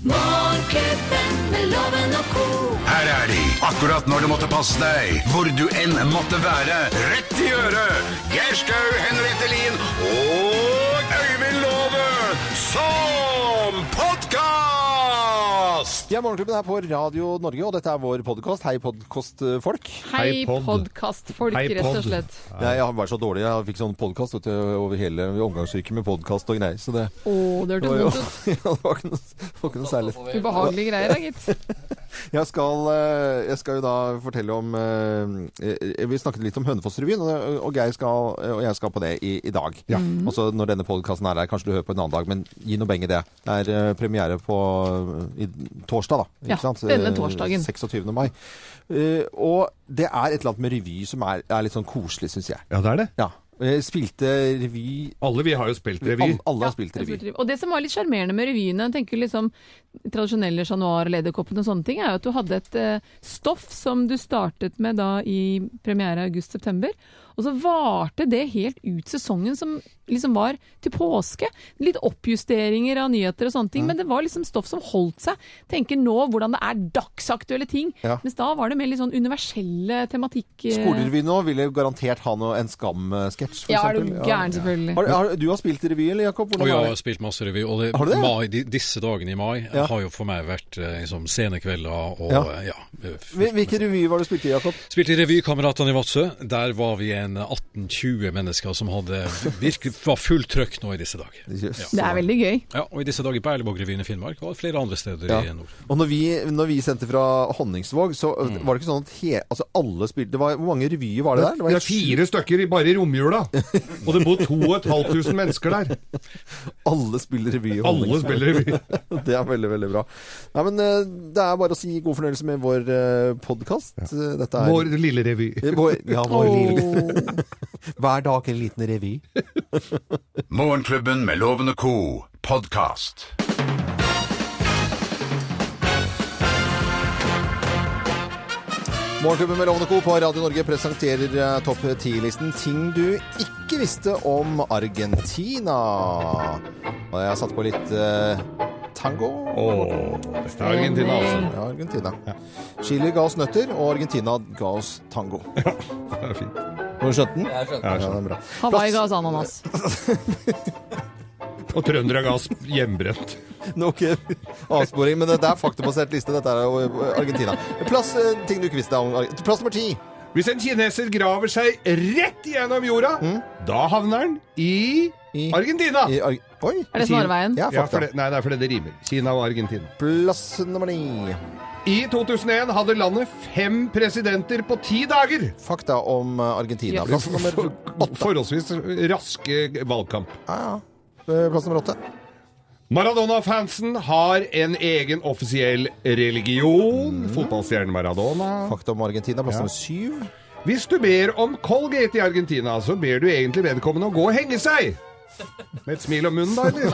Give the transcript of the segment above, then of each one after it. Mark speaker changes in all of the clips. Speaker 1: Morgenklubben med loven og ko.
Speaker 2: Her er de, akkurat når du måtte passe deg, hvor du enn måtte være. Rett i øret! Geir Skau, Henriette Lien og Øyvind Låve som podkast!
Speaker 3: Ja, Morgenklubben er på Radio Norge, og dette er vår podkast. Hei, podkastfolk.
Speaker 4: Hei,
Speaker 5: Hei, pod.
Speaker 4: podkastfolk,
Speaker 5: Hei,
Speaker 4: rett og
Speaker 5: pod.
Speaker 4: slett.
Speaker 3: Jeg har vært så dårlig. Jeg fikk sånn podkast over hele omgangssyke med podkast og greier. Så det
Speaker 4: Å, det
Speaker 3: det var jo
Speaker 4: hørtes vondt ut.
Speaker 3: ja, det var ikke noe, det var ikke noe særlig.
Speaker 4: Ubehagelige greier, da, gitt.
Speaker 3: Jeg skal, eh, jeg skal jo da fortelle om eh, eh, Vi snakket litt om Hønefoss-revyen, og- og Geir skal, eh, og jeg skal på det i, i dag. Og så når denne podkasten er her, kanskje du hører på en annen dag, men gi noe beng i det. Det er eh, premiere på eh, i, torsdag, da.
Speaker 4: Ja, denne torsdagen.
Speaker 3: Eh, 26. mai. Eh, og det er et eller annet med revy som er, er litt sånn koselig, syns jeg.
Speaker 5: Ja, det er det.
Speaker 3: Ja. Jeg spilte revy
Speaker 5: Alle vi har jo spilt revy.
Speaker 3: Alle, alle har spilt
Speaker 4: Ja,
Speaker 3: revy.
Speaker 4: spilt revy. Og det som var litt sjarmerende med revyene, jeg tenker liksom tradisjonelle Chat Noir, Lederkoppen og sånne ting, er jo at du hadde et eh, stoff som du startet med da i premiere august-september. Og så varte det helt ut sesongen som liksom var til påske. Litt oppjusteringer av nyheter og sånne ting, men det var liksom stoff som holdt seg. Tenker nå hvordan det er dagsaktuelle ting.
Speaker 3: Ja.
Speaker 4: Mens da var det mer litt sånn universelle tematikk. eh,
Speaker 3: Skolerevy nå ville jo garantert ha noe, en skam-sketsj, for
Speaker 4: Ja, er
Speaker 3: eksempel.
Speaker 4: du gæren, selvfølgelig.
Speaker 3: Har, har, du har spilt revy, eller, Jakob? Hvordan
Speaker 6: Og jeg
Speaker 3: er
Speaker 6: har
Speaker 3: det?
Speaker 6: spilt masse revy. Og det,
Speaker 3: Har du det?
Speaker 6: Mai, de, disse dagene i mai eh,
Speaker 3: Ja.
Speaker 6: har jo for meg vært eh, liksom, sene kvelder og
Speaker 3: Ja.
Speaker 6: eh, ja. eh,
Speaker 3: Hvil- Hvilken revy var det du spilte i, Jakob?
Speaker 6: Spilte i Revykameratene i Vadsø. Der var vi en 18-20 mennesker som hadde virkelig var fullt trøkk nå i disse dager.
Speaker 3: Jøss.
Speaker 4: Det er veldig gøy.
Speaker 6: Ja, og i disse dager på Erlevåg-revyen i Finnmark og flere andre steder
Speaker 3: Ja.
Speaker 6: i nord.
Speaker 3: Og når vi, når vi sendte fra Honningsvåg, så øh, var det ikke sånn at he, altså alle spilte det var, Hvor mange revyer var det der?
Speaker 5: Mm. Det
Speaker 3: var
Speaker 5: er fire stykker i- bare i romjula. Og det bor 2500 mennesker der.
Speaker 3: Alle spiller revy i
Speaker 5: Alle
Speaker 3: Honningsvåg.
Speaker 5: spiller revy.
Speaker 3: Det er veldig, veldig bra. Nei, men øh, det er bare å si god fornøyelse med vår uh, podkast. Dette er
Speaker 5: Vår lille revy.
Speaker 3: Eh, vår, ja, vår lille.
Speaker 4: Åh.
Speaker 3: Hver dag en liten revy.
Speaker 2: Morgenklubben med Loven og Co. podkast.
Speaker 3: Morgenklubben med Lovende Co. på Radio Norge presenterer eh, topp 10-listen ting du ikke visste om Argentina. Og jeg har satt på litt eh, tango.
Speaker 5: Det er Argentina, altså.
Speaker 3: Ja, Argentina. Chile ga oss nøtter, og Argentina ga oss tango.
Speaker 5: Det er fint.
Speaker 3: Har du skjønt den? Ja, det er bra.
Speaker 4: Hawaii ga oss ananas.
Speaker 5: Og trøndere ga oss hjemmebrent.
Speaker 3: Nok eh, avsporing, men det er faktabasert liste. Dette er jo eh, Argentina. Plass eh, ting du ikke visste om Argentina. Plass nummer ti.
Speaker 5: Hvis en kineser graver seg rett gjennom jorda, da havner han i
Speaker 3: Mm. I-
Speaker 5: Argentina.
Speaker 3: i Ar- Oi!
Speaker 4: Er det snarveien?
Speaker 3: Ja,
Speaker 5: Ja,
Speaker 3: fakta.
Speaker 5: for det, nei, det er fordi det rimer. Kina og Argentina.
Speaker 3: Plass nummer ni.
Speaker 5: I 2001 hadde landet fem presidenter på ti dager.
Speaker 3: Fakta om eh, Argentina.
Speaker 4: Yes.
Speaker 3: Plass nummer
Speaker 5: For-
Speaker 3: åtte.
Speaker 5: Forholdsvis raske valgkamp.
Speaker 3: Ja, ja. Eh, Plass nummer åtte.
Speaker 5: Maradona-fansen har en egen offisiell
Speaker 3: Mm.
Speaker 5: religion. Fotballstjernen Maradona.
Speaker 3: Fakta om Argentina. Plass nummer syv.
Speaker 5: Hvis du ber om Colgate i Argentina, så ber du egentlig vedkommende å gå og henge seg. Med et smil om munnen, da, eller?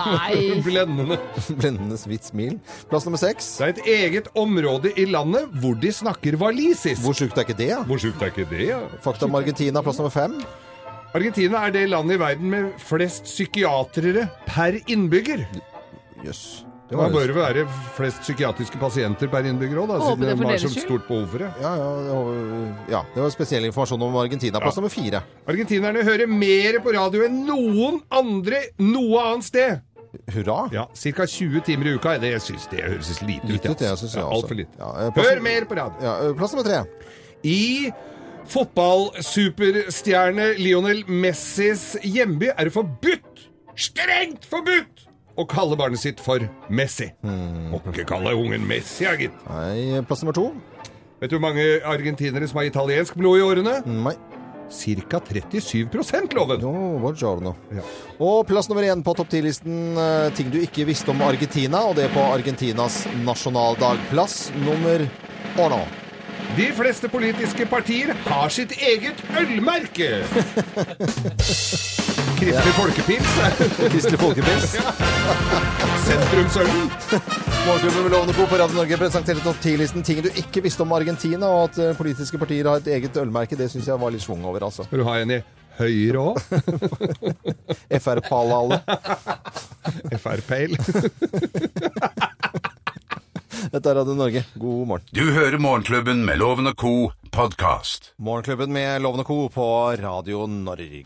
Speaker 4: Nei.
Speaker 5: Blendende.
Speaker 3: Blendende hvitt smil. Plass nummer seks.
Speaker 5: Det er et eget område i landet hvor de snakker walisisk.
Speaker 3: Hvor sjukt er ikke det? ja?
Speaker 5: Hvor sjukt er ikke det? Ja?
Speaker 3: Fakta om Argentina. Plass nummer fem.
Speaker 5: Argentina er det landet i verden med flest psykiatere per innbygger.
Speaker 3: Jøss.
Speaker 5: Det bør jo være flest psykiatriske pasienter per innbygger òg,
Speaker 4: Håper
Speaker 5: siden
Speaker 4: det
Speaker 5: de
Speaker 4: for
Speaker 5: har
Speaker 4: deres
Speaker 5: så
Speaker 4: skyld.
Speaker 5: stort behov for det.
Speaker 3: Ja, ja, det var- ja, det var spesiell informasjon om Argentina. Plass nummer fire.
Speaker 5: Argentinerne hører mer på radio enn noen andre noe annet sted.
Speaker 3: Hurra.
Speaker 5: Ja, Ca. 20 timer i uka. Det jeg synes det høres litt ut.
Speaker 3: Litt ut, jeg synes jeg også.
Speaker 5: Altfor lite.
Speaker 3: Ja, eh, plass-
Speaker 5: Hør mer på radio.
Speaker 3: Ja, ø, plass nummer tre.
Speaker 5: I fotballsuperstjerne Lionel Messis hjemby er det forbudt, strengt forbudt, å kalle barnet sitt for Messi.
Speaker 3: Hmm.
Speaker 5: Må ikke kalle ungen Messi, ja, gitt.
Speaker 3: Nei, plass nummer to.
Speaker 5: Vet du hvor mange argentinere som har italiensk blod i årene?
Speaker 3: Nei.
Speaker 5: Ca. 37 loven.
Speaker 3: Jo, buongiorno.
Speaker 5: Ja.
Speaker 3: Og plass nummer én på topp ti-listen ø, ting du ikke visste om Argentina, og det på Argentinas nasjonaldag. Plass nummer Orno.
Speaker 5: De fleste politiske partier har sitt eget ølmerke. Kristelig Folkepils er
Speaker 3: Kristelig Folkepils.
Speaker 5: sentrumsølen.
Speaker 3: Morgenklubben med Lovende Co. på Radio Norge presenterer topp ti-listen ting du ikke visste om Argentina, og at ø, politiske partier har et eget ølmerke. Det syns jeg var litt schwung over, altså.
Speaker 5: Skal du ha en i Høyre òg?
Speaker 3: FR-pala-alle.
Speaker 5: Frp-el.
Speaker 3: Dette er Radio Norge. God morgen.
Speaker 2: Du hører Morgenklubben med Loven og co. podkast.
Speaker 3: Morgenklubben med Loven og Co. på Radio Norge.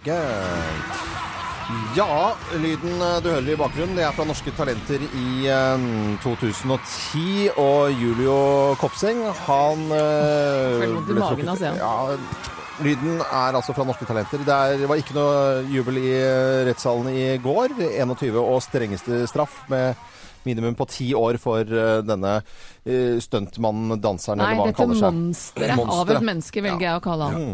Speaker 3: Ja, lyden eh, du hører i bakgrunnen, det er fra Norske Talenter i eh, 2010. Og Julio Kopseng, han eh,
Speaker 4: Får vondt i
Speaker 3: ble trukket-
Speaker 4: magen, altså,
Speaker 3: Ja, lyden er altså fra Norske Talenter. Det er, var ikke noe jubel i eh, rettssalen i går. 21 og strengeste straff med minimum på ti år for eh, denne eh, stuntmannen, danseren,
Speaker 4: Nei,
Speaker 3: eller hva han
Speaker 4: dette
Speaker 3: kaller seg.
Speaker 4: monsteret av
Speaker 3: Monsteret. Mm.
Speaker 4: et menneske velger jeg å kalle han.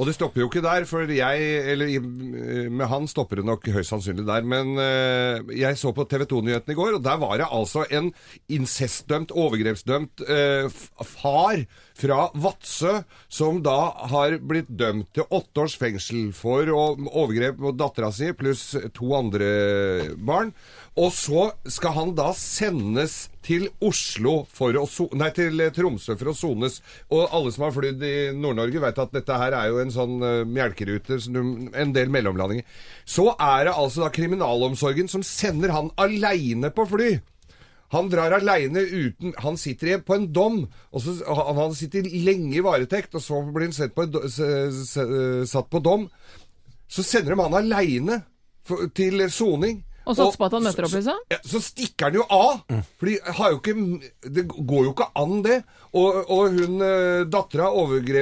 Speaker 5: Og det stopper jo ikke der, for jeg Eller i- eh, med han stopper det nok høyst sannsynlig der. Men eh, jeg så på TV 2-nyhetene i går, og der var det altså en incestdømt, overgrepsdømt eh, f- far fra Vadsø som da har blitt dømt til åtte års fengsel for å- overgrep mot dattera si pluss to andre barn. Og så skal han da sendes til Oslo for å so Nei, til eh, Tromsø for å sones. Og alle som har flydd i Nord-Norge vet at dette her er jo en sånn uh, melkerute, så du- en del mellomlandinger. Så er det altså da kriminalomsorgen som sender han aleine på fly. Han drar aleine uten Han sitter i- på en dom, og så, han han sitter lenge i varetekt, og så blir han sett på, en do- s- s- satt på dom. Så sender de han aleine til soning.
Speaker 4: Og satser på at han møter opp, liksom?
Speaker 5: Ja, så stikker han jo av! Fordi har jo ikke, det går jo ikke an, det. Og, og hun eh, dattera,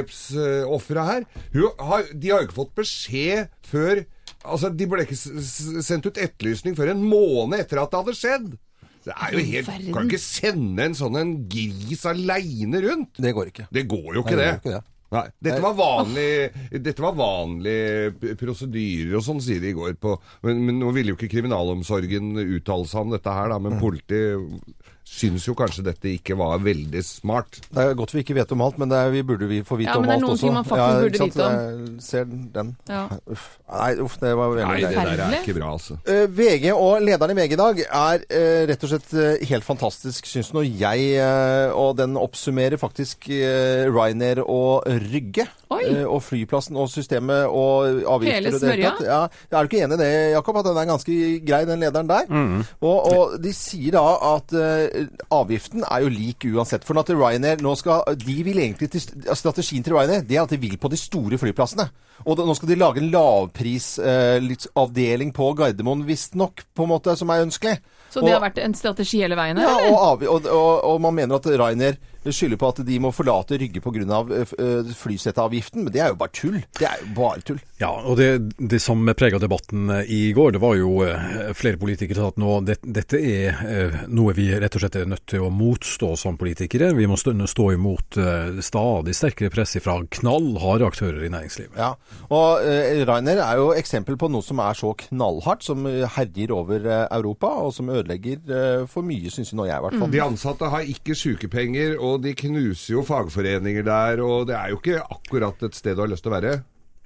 Speaker 5: overgrepsofferet her, hun har, de har jo ikke fått beskjed før Altså, de ble ikke s s sendt ut etterlysning før en måned etter at det hadde skjedd. Det er jo helt
Speaker 4: verden.
Speaker 5: Kan ikke sende en sånn en gris aleine rundt.
Speaker 3: Det går ikke.
Speaker 5: Det går jo ikke,
Speaker 3: Nei,
Speaker 5: det.
Speaker 3: det går ikke det.
Speaker 5: Nei, dette var vanlig, dette var vanlig p- prosedyrer og sånn, sier de i går. På, men, men nå ville jo ikke kriminalomsorgen uttale seg om dette her, da. Men politiet syns jo kanskje dette ikke var veldig smart.
Speaker 3: Det er godt vi ikke vet om alt, men det er, vi burde vi få vite
Speaker 4: Ja,
Speaker 3: om
Speaker 4: men det er
Speaker 3: alt
Speaker 4: noen
Speaker 3: også.
Speaker 4: ting man faktisk burde
Speaker 3: ikke sant?
Speaker 4: vite om.
Speaker 3: Jeg ser den.
Speaker 4: Ja.
Speaker 3: Uff. Nei, uff, det var veldig
Speaker 5: Nei, det
Speaker 3: greit.
Speaker 5: der er
Speaker 4: Forferdelig.
Speaker 5: ikke bra, altså.
Speaker 3: Eh, VG og lederen i VG i dag er eh, rett og slett eh, helt fantastisk, syns nå jeg. eh, og den oppsummerer faktisk uh, Ryanair og Rygge.
Speaker 4: Oi.
Speaker 3: eh, og flyplassen og systemet og avgifter.
Speaker 4: Hele
Speaker 3: og det hele
Speaker 4: smørja?
Speaker 3: tatt. Ja, er du ikke enig i det, Jakob? At den er ganske grei, den lederen der? Og, og de sier da at eh, avgiften er jo lik uansett. For at Ryanair nå skal De vil egentlig til Strategien til Ryanair det er at de vil på de store flyplassene. Og da, nå skal de lage en lavprisavdeling på Gardermoen, visstnok, på en måte, som er ønskelig.
Speaker 4: Så det har
Speaker 3: Og-
Speaker 4: vært en strategi hele veien?
Speaker 3: ja,
Speaker 4: her,
Speaker 3: og,
Speaker 4: eller?
Speaker 3: avgi- og, og, og man mener at Ryanair skylder på at de må forlate Rygge pga. eh, flyseteavgiften, men det er jo bare tull. Det er jo bare tull.
Speaker 6: Ja, og det, det som prega debatten eh, i går, det var jo eh, flere politikere som sa at nå, det, dette er eh, noe vi rett og slett er nødt til å motstå som politikere. Vi må stå, stå imot eh, stadig sterkere press fra knallharde aktører i næringslivet.
Speaker 3: Ja, og eh, Ryanair er jo eksempel på noe som er så knallhardt, som eh, herjer over eh, Europa, og som ødelegger eh, for mye, syns nå jeg i
Speaker 4: Mm.
Speaker 3: hvert fall.
Speaker 5: De ansatte har ikke sykepenger, og de knuser jo fagforeninger der, og det er jo ikke akkurat et sted du har lyst til å være.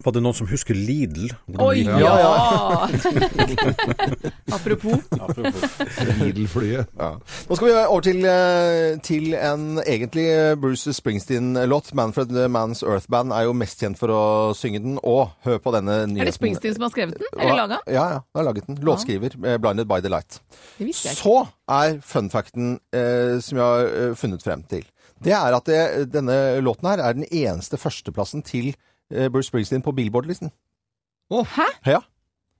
Speaker 6: Var det noen som husker Lidl?
Speaker 4: Oi,
Speaker 6: Hvordan de-
Speaker 4: ja!
Speaker 3: Ja,
Speaker 4: Apropos.
Speaker 5: Middelflyet.
Speaker 3: Nå skal vi over til, eh, til en egentlig eh, Bruce Springsteen-låt. Manfred Man's Earth Band er jo mest kjent for å synge den, og hør på denne nyheten.
Speaker 4: Er det Springsteen som har skrevet den? Eller laga?
Speaker 3: Ja, ja. Han har laget den. Låtskriver. eh, 'Blinded by the Light'.
Speaker 4: Det visste jeg ikke.
Speaker 3: Så er fun facten eh, som jeg har eh, funnet frem til. Det er at det, denne låten her er den eneste førsteplassen til eh, Bruce Springsteen på Billboard-listen.
Speaker 4: Hæ?
Speaker 3: Ja.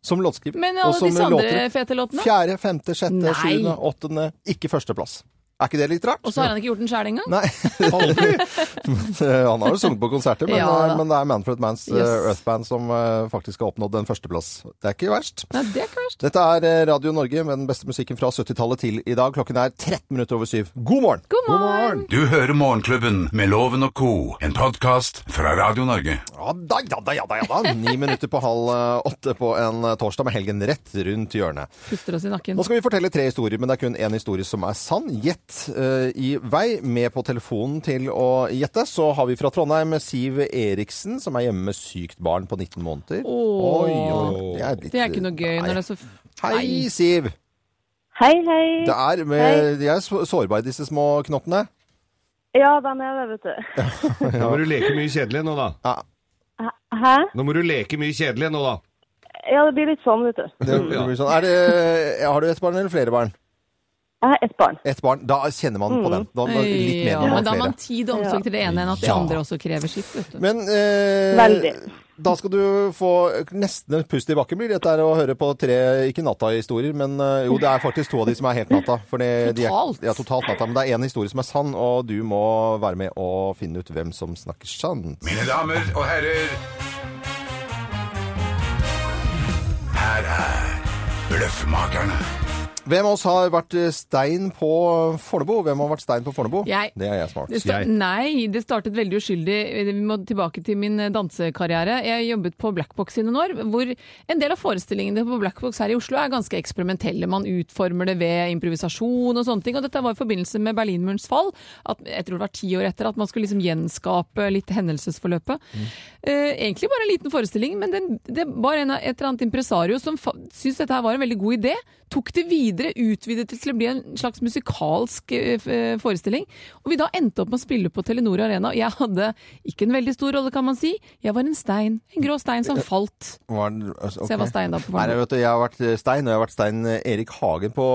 Speaker 3: Som låtskriver.
Speaker 4: Men
Speaker 3: Og
Speaker 4: alle
Speaker 3: som
Speaker 4: disse andre
Speaker 3: låter-
Speaker 4: fete låtene?
Speaker 3: Fjerde, femte, sjette,
Speaker 4: Nei.
Speaker 3: sjuende, åttende. Ikke førsteplass. Er ikke det litt rart?
Speaker 4: Og så har han ikke gjort den sjæl engang?
Speaker 3: Nei. han har jo sunget på konserter, men,
Speaker 4: Ja, da.
Speaker 3: men det er Manfred Manns eh,
Speaker 4: Yes.
Speaker 3: Earth Band som eh, faktisk har oppnådd en førsteplass. Det er ikke verst.
Speaker 4: Nei, det er ikke verst.
Speaker 3: Dette er eh, Radio Norge med den beste musikken fra 70-tallet til i dag. Klokken er 13 minutter over syv. God morgen!
Speaker 4: God morgen!
Speaker 2: Du hører Morgenklubben med Loven og co., en podkast fra Radio Norge.
Speaker 3: Ja da, ja da, ja da, ja da. Ni minutter på halv eh, åtte på en eh, torsdag med helgen rett rundt hjørnet.
Speaker 4: Puster oss i nakken.
Speaker 3: Nå skal vi fortelle tre historier, men det er kun én historie som er sann. Gjett eh, i vei. Med på telefonen til å gjette så har vi fra Trondheim Siv Eriksen, som er hjemme med sykt barn på 19 måneder.
Speaker 4: Åh.
Speaker 3: det er, litt-
Speaker 4: Det er ikke noe gøy når det
Speaker 3: Nei.
Speaker 4: er så
Speaker 3: Hei, Siv!
Speaker 7: Hei, hei.
Speaker 3: Det er med, de er så- sårbare, disse små knottene.
Speaker 7: Ja, den er det, vet du.
Speaker 5: Nå må du leke mye kjedelig nå, da.
Speaker 7: Hæ?
Speaker 5: Nå må du leke mye kjedelig nå, da.
Speaker 7: Ja, det blir litt sånn, vet du.
Speaker 3: Det, det blir sånn. er det, har du ett barn eller flere barn?
Speaker 7: Jeg har ett barn.
Speaker 3: Ett barn. Da kjenner man på den. Da, da, litt mer
Speaker 4: Mm. Ja,
Speaker 3: når man
Speaker 4: men da
Speaker 3: har
Speaker 4: har man
Speaker 3: flere.
Speaker 4: tid og omsorg til det ene enn at det
Speaker 3: Ja.
Speaker 4: andre også krever sitt. Vet du.
Speaker 3: Men eh,
Speaker 7: Veldig.
Speaker 3: da skal du få nesten et pust i bakken, blir dette her å høre på tre ikke natta-historier, men eh, jo, det er faktisk to av de som er helt natta. For det- de er-
Speaker 4: Totalt?
Speaker 3: ja, totalt natta. Men det er én historie som er sann, og du må være med og finne ut hvem som snakker sant.
Speaker 2: Mine damer og herrer Her er Bløffmakerne.
Speaker 3: Hvem av oss har vært eh, stein på Fornebu? Hvem har vært stein på Fornebu?
Speaker 4: Jeg.
Speaker 3: Det er jeg som har
Speaker 4: Det
Speaker 3: vært.
Speaker 4: sta- nei, det startet veldig uskyldig. Vi må tilbake til min eh, dansekarriere. Jeg jobbet på Blackbox i noen år, hvor en del av forestillingene på Blackbox her i Oslo er ganske eksperimentelle. Man utformer det ved improvisasjon og sånne ting. Og dette var i forbindelse med Berlinmurens fall. At, jeg tror det var ti år etter at man skulle liksom gjenskape litt hendelsesforløpet. Eh, egentlig bare en liten forestilling, men den, det var en, av- et eller annet impresario som fa- syntes dette her var en veldig god idé. Tok det videre, utvidet det til å bli en slags musikalsk eh, f- eh, forestilling. Og vi da endte opp med å spille på Telenor Arena. og Jeg hadde ikke en veldig stor rolle, kan man si. Jeg var en stein. En grå stein som falt.
Speaker 3: Var den- altså,
Speaker 4: Så jeg var
Speaker 3: ok.
Speaker 4: stein da på
Speaker 3: Nei,
Speaker 4: Fornebu.
Speaker 3: vet du, jeg har vært eh, Stein, og jeg har vært Stein eh, Erik Hagen på,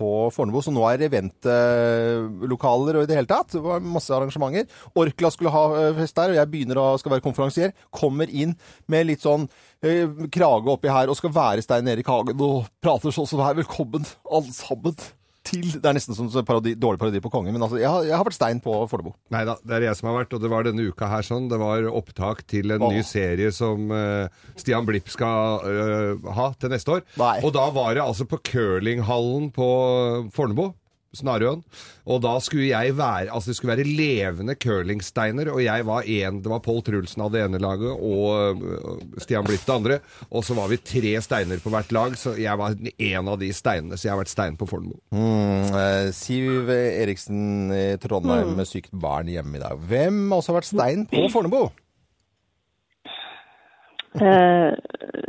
Speaker 3: på Fornebu, så nå er det eventlokaler og i det hele tatt. Det var masse arrangementer. Orkla skulle ha eh, fest der, og jeg begynner å skal være konferansier. Kommer inn med litt sånn eh, krage oppi her, og skal være Stein Erik Hagen, og prater sånn som her. Velkommen, alle sammen. Til. Det er nesten som en parodi, dårlig parodi på kongen, men altså, jeg har, jeg har vært stein på Fornebu.
Speaker 5: Nei da, det er jeg som har vært, og det var denne uka her sånn. Det var opptak til en
Speaker 3: Åh.
Speaker 5: ny serie som eh, Stian Blipp skal eh, ha til neste år.
Speaker 3: Nei.
Speaker 5: Og da var det altså på curlinghallen på Fornebu. Snarøen. Og da skulle jeg være Altså, det skulle være levende curlingsteiner, og jeg var én Det var Pål Trulsen av det ene laget og eh, Stian Blipp det andre. Og så var vi tre steiner på hvert lag, så jeg var en av de steinene. Så jeg har vært stein på Fornebu.
Speaker 3: Mm, eh, Siv Eriksen i Trondheim med sykt barn hjemme i dag. Hvem også har vært stein på Fornebu?
Speaker 7: Eh,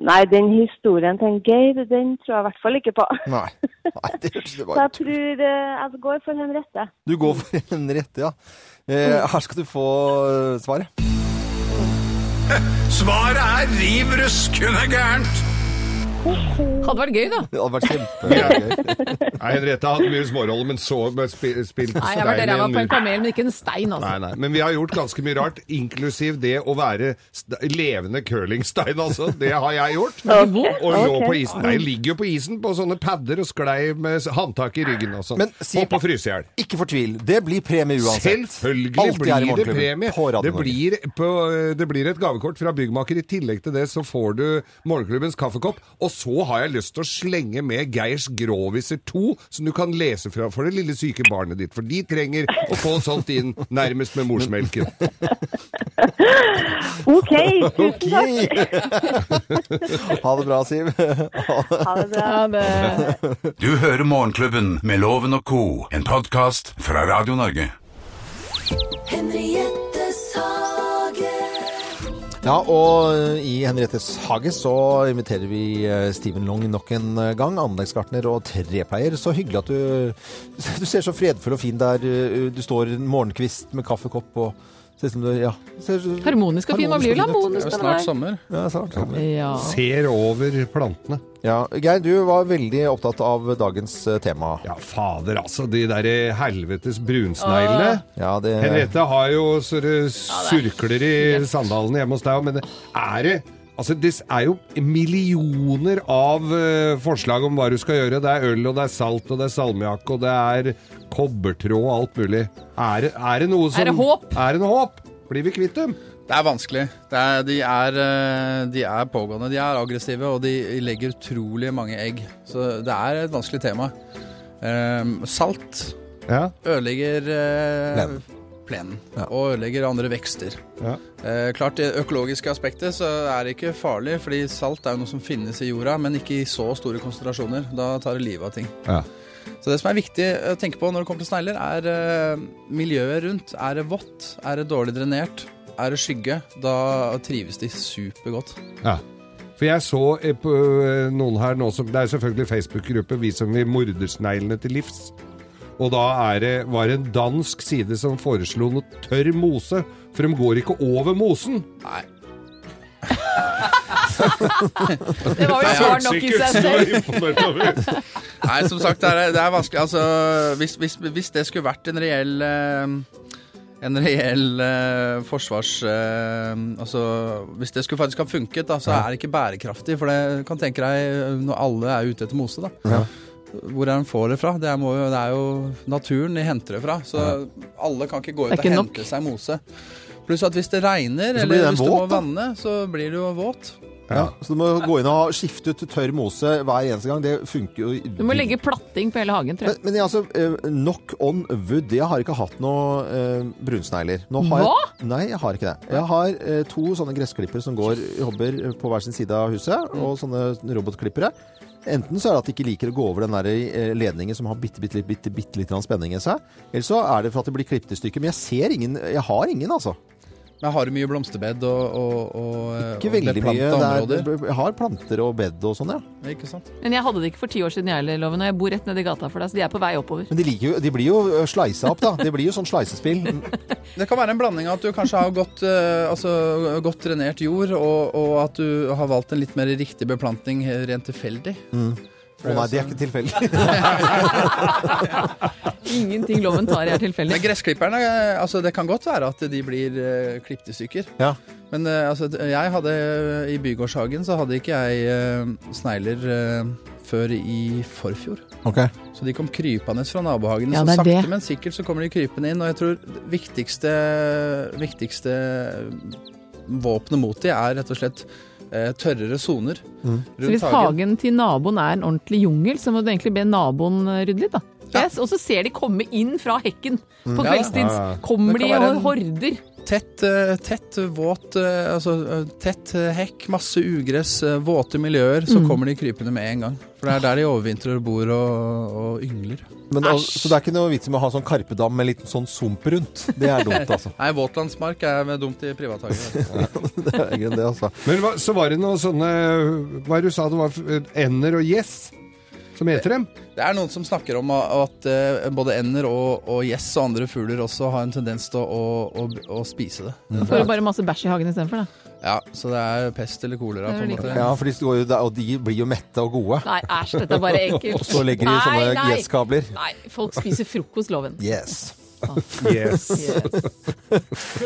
Speaker 7: nei, den historien til en Geir, den tror jeg i hvert fall ikke på.
Speaker 3: Nei. Nei det hørtes det
Speaker 7: Så
Speaker 3: bare
Speaker 7: jeg tror eh, jeg går for Henriette.
Speaker 3: Du går for en rette, ja. Eh, her skal du få eh, svaret.
Speaker 2: Svaret er riv ruskende gærent.
Speaker 4: Hadde vært gøy, da.
Speaker 3: Det hadde vært kjempegøy.
Speaker 5: Nei, Henriette har hatt mye småroller, men så men spi- spilt
Speaker 4: Nei, jeg var der
Speaker 5: stein i
Speaker 4: jeg var på
Speaker 5: en mur.
Speaker 4: en kamel, men ikke en stein, altså.
Speaker 5: Nei, nei. Men vi har gjort ganske mye rart, inklusiv det å være st levende curlingstein, altså. Det har jeg gjort.
Speaker 7: Ok,
Speaker 5: Og lå
Speaker 7: ok.
Speaker 5: på isen. Nei, jeg ligger jo på isen på sånne padder og sklei med s- håndtak i ryggen og sånn.
Speaker 3: Men si-
Speaker 5: og på frysehjel.
Speaker 3: Ikke fortvil. Det blir premie uansett.
Speaker 5: Selvfølgelig
Speaker 3: Alltid her i
Speaker 5: blir det
Speaker 3: Morgenklubben,
Speaker 5: premie.
Speaker 3: På Radio
Speaker 5: Det
Speaker 3: Norge.
Speaker 5: blir, på, eh, det blir et gavekort fra byggmaker. I tillegg til det så får du Morgenklubbens kaffekopp. Og så har jeg lyst til å slenge med Geirs Gråviser 2, som du kan lese fra for det lille syke barnet ditt. For de trenger å få sånt inn nærmest med morsmelken.
Speaker 7: OK, tusen
Speaker 3: Ok!
Speaker 7: takk.
Speaker 3: ha det bra, Siv.
Speaker 7: Ha det bra.
Speaker 4: Ja, det...
Speaker 2: Du hører Morgenklubben med Loven og co., en podkast fra Radio Norge.
Speaker 1: Henriettes hage.
Speaker 3: Ja, og eh, i Henriettes hage så inviterer vi eh, Steven Long nok en eh, gang. Anleggsgartner og trepleier. Så hyggelig at du Du ser så fredfull og fin der eh, du står en morgenkvist med kaffekopp og Ser ut som du Ja. Ser,
Speaker 4: Harmonisk og fin. Man blir vel harmonisk av det
Speaker 8: Snart
Speaker 4: der.
Speaker 8: sommer.
Speaker 3: Ja, snart. Ja.
Speaker 4: Ja.
Speaker 5: Ser over plantene.
Speaker 3: sånn. Ja, Geir, du var veldig opptatt av dagens eh, tema.
Speaker 5: Ja, fader altså, de der helvetes brunsneglene.
Speaker 3: Ja, det
Speaker 5: Henriette har jo så det surkler i sandalene hjemme hos deg, men er det Altså, Det er jo millioner av eh, forslag om hva du skal gjøre. Det er øl, og det er salt, og det er salmiakk, og det er kobbertråd og alt mulig. Er, det- er det noe som
Speaker 4: det håp?
Speaker 5: Er det noe håp? Blir vi kvitt dem?
Speaker 8: Det er vanskelig. Det er, de, er, eh, de er pågående, de er aggressive, og de legger utrolig mange egg. Så det er et vanskelig tema. Ehm, salt
Speaker 5: Ja.
Speaker 8: ødelegger eh,
Speaker 3: Plenen.
Speaker 8: plenen, og ødelegger andre vekster.
Speaker 5: Ja.
Speaker 8: Eh, klart Det økologiske aspektet så er det ikke farlig, fordi salt er jo noe som finnes i jorda, men ikke i så store konsentrasjoner. Da tar det livet av ting.
Speaker 5: Ja.
Speaker 8: Så det som er viktig å tenke på når det kommer til snegler, er eh, miljøet rundt. Er det vått? Er det dårlig drenert? Er det skygge? Da trives de supergodt.
Speaker 5: Ja. For jeg så eh, på, eh, noen her nå som Det er selvfølgelig Facebook-gruppe Vi som vil mordersneglene til livs. Og da er det, var det en dansk side som foreslo noe tørr mose, for de går ikke over mosen.
Speaker 8: Nei.
Speaker 4: Det var jo svar nok i seg selv.
Speaker 5: selv.
Speaker 8: Nei, som sagt, det er, det er vanskelig. Altså, hvis, hvis, hvis det skulle vært en reell eh, en reell eh, forsvars... Eh, altså, hvis det skulle faktisk ha funket, da, så er det ikke bærekraftig. For det kan tenke deg eh, når alle er ute etter mose, da.
Speaker 3: Ja.
Speaker 8: Hvor er den får det fra? Det er, må jo, det er jo naturen de henter det fra. Så alle kan ikke gå ut
Speaker 4: Det er
Speaker 8: og
Speaker 4: ikke
Speaker 8: hente
Speaker 4: nok.
Speaker 8: seg mose. Pluss at hvis det regner,
Speaker 3: Så blir
Speaker 8: eller
Speaker 3: den
Speaker 8: hvis du må
Speaker 3: våt, da.
Speaker 8: vanne, så blir det jo våt.
Speaker 3: Ja. Så du må gå inn og ha- skifte ut tørr mose hver eneste gang. Det funker jo
Speaker 4: Du må legge platting på hele hagen, tror
Speaker 3: Men,
Speaker 4: jeg.
Speaker 3: men jeg, altså, eh, knock on wood. Jeg har ikke hatt noe eh, brunsnegler. Nå har Jeg, nei, jeg har ikke det. Jeg har eh, to sånne gressklippere som går jobber på hver sin side av huset, og sånne robotklippere. Enten så er det at de ikke liker å gå over den der eh, ledningen som har bitte, bitte, bitte, bitte litt grann spenning i seg, eller så er det for at det blir klippet i stykker. Men jeg ser ingen, jeg har ingen, altså.
Speaker 8: Men har du mye blomsterbed og, og, og eh,
Speaker 3: Ikke
Speaker 8: og
Speaker 3: veldig mye.
Speaker 8: beplanta
Speaker 3: Det er, jeg har planter og bed og sånn, ja.
Speaker 8: områder? Ikke sant?
Speaker 4: Men jeg hadde det ikke for ti år siden, jeg heller, Loven. Og jeg bor rett nedi gata for deg, så de er på vei oppover.
Speaker 3: Men de, liker jo, de blir jo sleisa opp, da. Det blir jo sånn sleisespill.
Speaker 8: Det kan være en blanding av at du kanskje har godt, eh, altså, godt drenert jord, og, og at du har valgt en litt mer riktig beplantning eh, rent tilfeldig.
Speaker 3: Å nei, det er ikke tilfeldig.
Speaker 4: Ingenting Loven tar er
Speaker 8: Men
Speaker 4: tilfeldig.
Speaker 8: Gressklipperne eh, altså, Det kan godt være at de blir uh, klippet i stykker.
Speaker 3: Ja.
Speaker 8: Men eh, altså, jeg hadde eh, i bygårdshagen så hadde ikke jeg eh, snegler eh, før i forfjor.
Speaker 3: Ok.
Speaker 8: Så de kom krypende fra nabohagen.
Speaker 4: Ja,
Speaker 8: så
Speaker 4: det er
Speaker 8: sakte,
Speaker 4: det.
Speaker 8: men sikkert så kommer de krypende inn. Og jeg tror det viktigste, viktigste våpenet mot de er rett og slett eh, tørrere soner
Speaker 4: Så hvis
Speaker 8: rundt hagen.
Speaker 4: hagen til naboen er en ordentlig jungel, så må du egentlig be naboen eh, rydde litt, da.
Speaker 8: Ja.
Speaker 4: Yes, og så ser de komme inn fra hekken på
Speaker 8: Ja, da.
Speaker 4: kveldstid.
Speaker 5: Ja, ja.
Speaker 4: Kommer
Speaker 8: Det
Speaker 4: de
Speaker 8: kan være
Speaker 4: og horder.
Speaker 8: Tett, eh, tett eh, våt eh, Altså eh, tett eh, hekk, masse ugress, eh, våte miljøer. Så
Speaker 4: Mm.
Speaker 8: kommer de krypende med en gang. For det er der de overvintrer og bor og, og yngler.
Speaker 3: Men, al- så det er ikke noe vits med å ha sånn karpedam med litt sånn sump rundt. Det er dumt, altså.
Speaker 8: Nei, våtlandsmark er dumt i altså. privathager.
Speaker 3: Det er ikke det, altså.
Speaker 5: Men hva, så var det noen sånne Hva er det du sa det var? eh, Ender og gjess? Som heter dem?
Speaker 8: Det er noen som snakker om at eh, både ender og, og gjess og andre fugler også har en tendens til å, å, å, å spise det.
Speaker 3: Mm.
Speaker 4: Får du bare masse bæsj i hagen istedenfor, da.
Speaker 8: Ja, Så det er pest eller kolera. på en
Speaker 4: Det er
Speaker 8: måte.
Speaker 3: Ja, for de går jo der, og de blir jo mette og gode.
Speaker 4: Nei, æsj, dette er bare ekkelt.
Speaker 3: Og så legger de
Speaker 4: Nei,
Speaker 3: sånne
Speaker 4: nei.
Speaker 3: gresskabler.
Speaker 4: Nei, folk spiser frokost, Loven.
Speaker 3: Yes.
Speaker 5: Yes.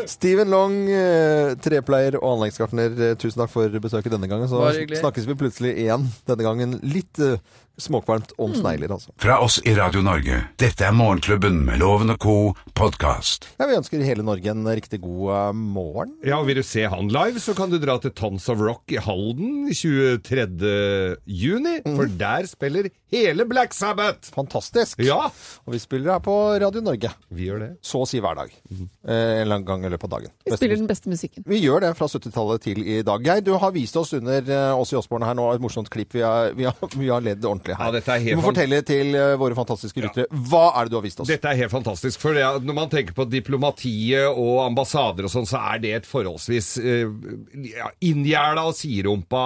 Speaker 3: Steven Long, eh, trepleier og anleggsgartner, eh, tusen takk for besøket denne gangen. Så
Speaker 8: Bare hyggelig.
Speaker 3: snakkes vi plutselig igjen denne gangen. Litt eh, småkvalmt
Speaker 4: Mm.
Speaker 3: om snegler, altså.
Speaker 2: Fra oss i Radio Norge. Dette er Morgenklubben med Loven og co. podkast.
Speaker 3: Ja, vi ønsker hele Norge en riktig god eh, morgen.
Speaker 5: Ja, og Vil du se han live, så kan du dra til Tons of Rock i Halden 23. juni. For der spiller hele Black Sabbath!
Speaker 3: Fantastisk.
Speaker 5: Ja,
Speaker 3: Og vi spiller her på Radio Norge.
Speaker 5: vi gjør det.
Speaker 3: Så å si hver dag. Eh, en eller annen gang i løpet av dagen.
Speaker 4: Mm-hmm. Vi spiller den beste musikken.
Speaker 3: Vi gjør det fra 70-tallet til i dag. Geir, du har vist oss under eh, oss i Åsborne her nå et morsomt klipp. Vi har, vi har, vi har ledd ordentlig her.
Speaker 5: Ja, dette er helt
Speaker 3: du må
Speaker 5: fan-
Speaker 3: fortelle til eh, våre fantastiske lyttere hva er det du har vist oss?
Speaker 5: Dette er helt fantastisk. For det, er- når man tenker på diplomatiet og ambassader og sånn, så er det et forholdsvis eh, ja, inngjerda og siderumpa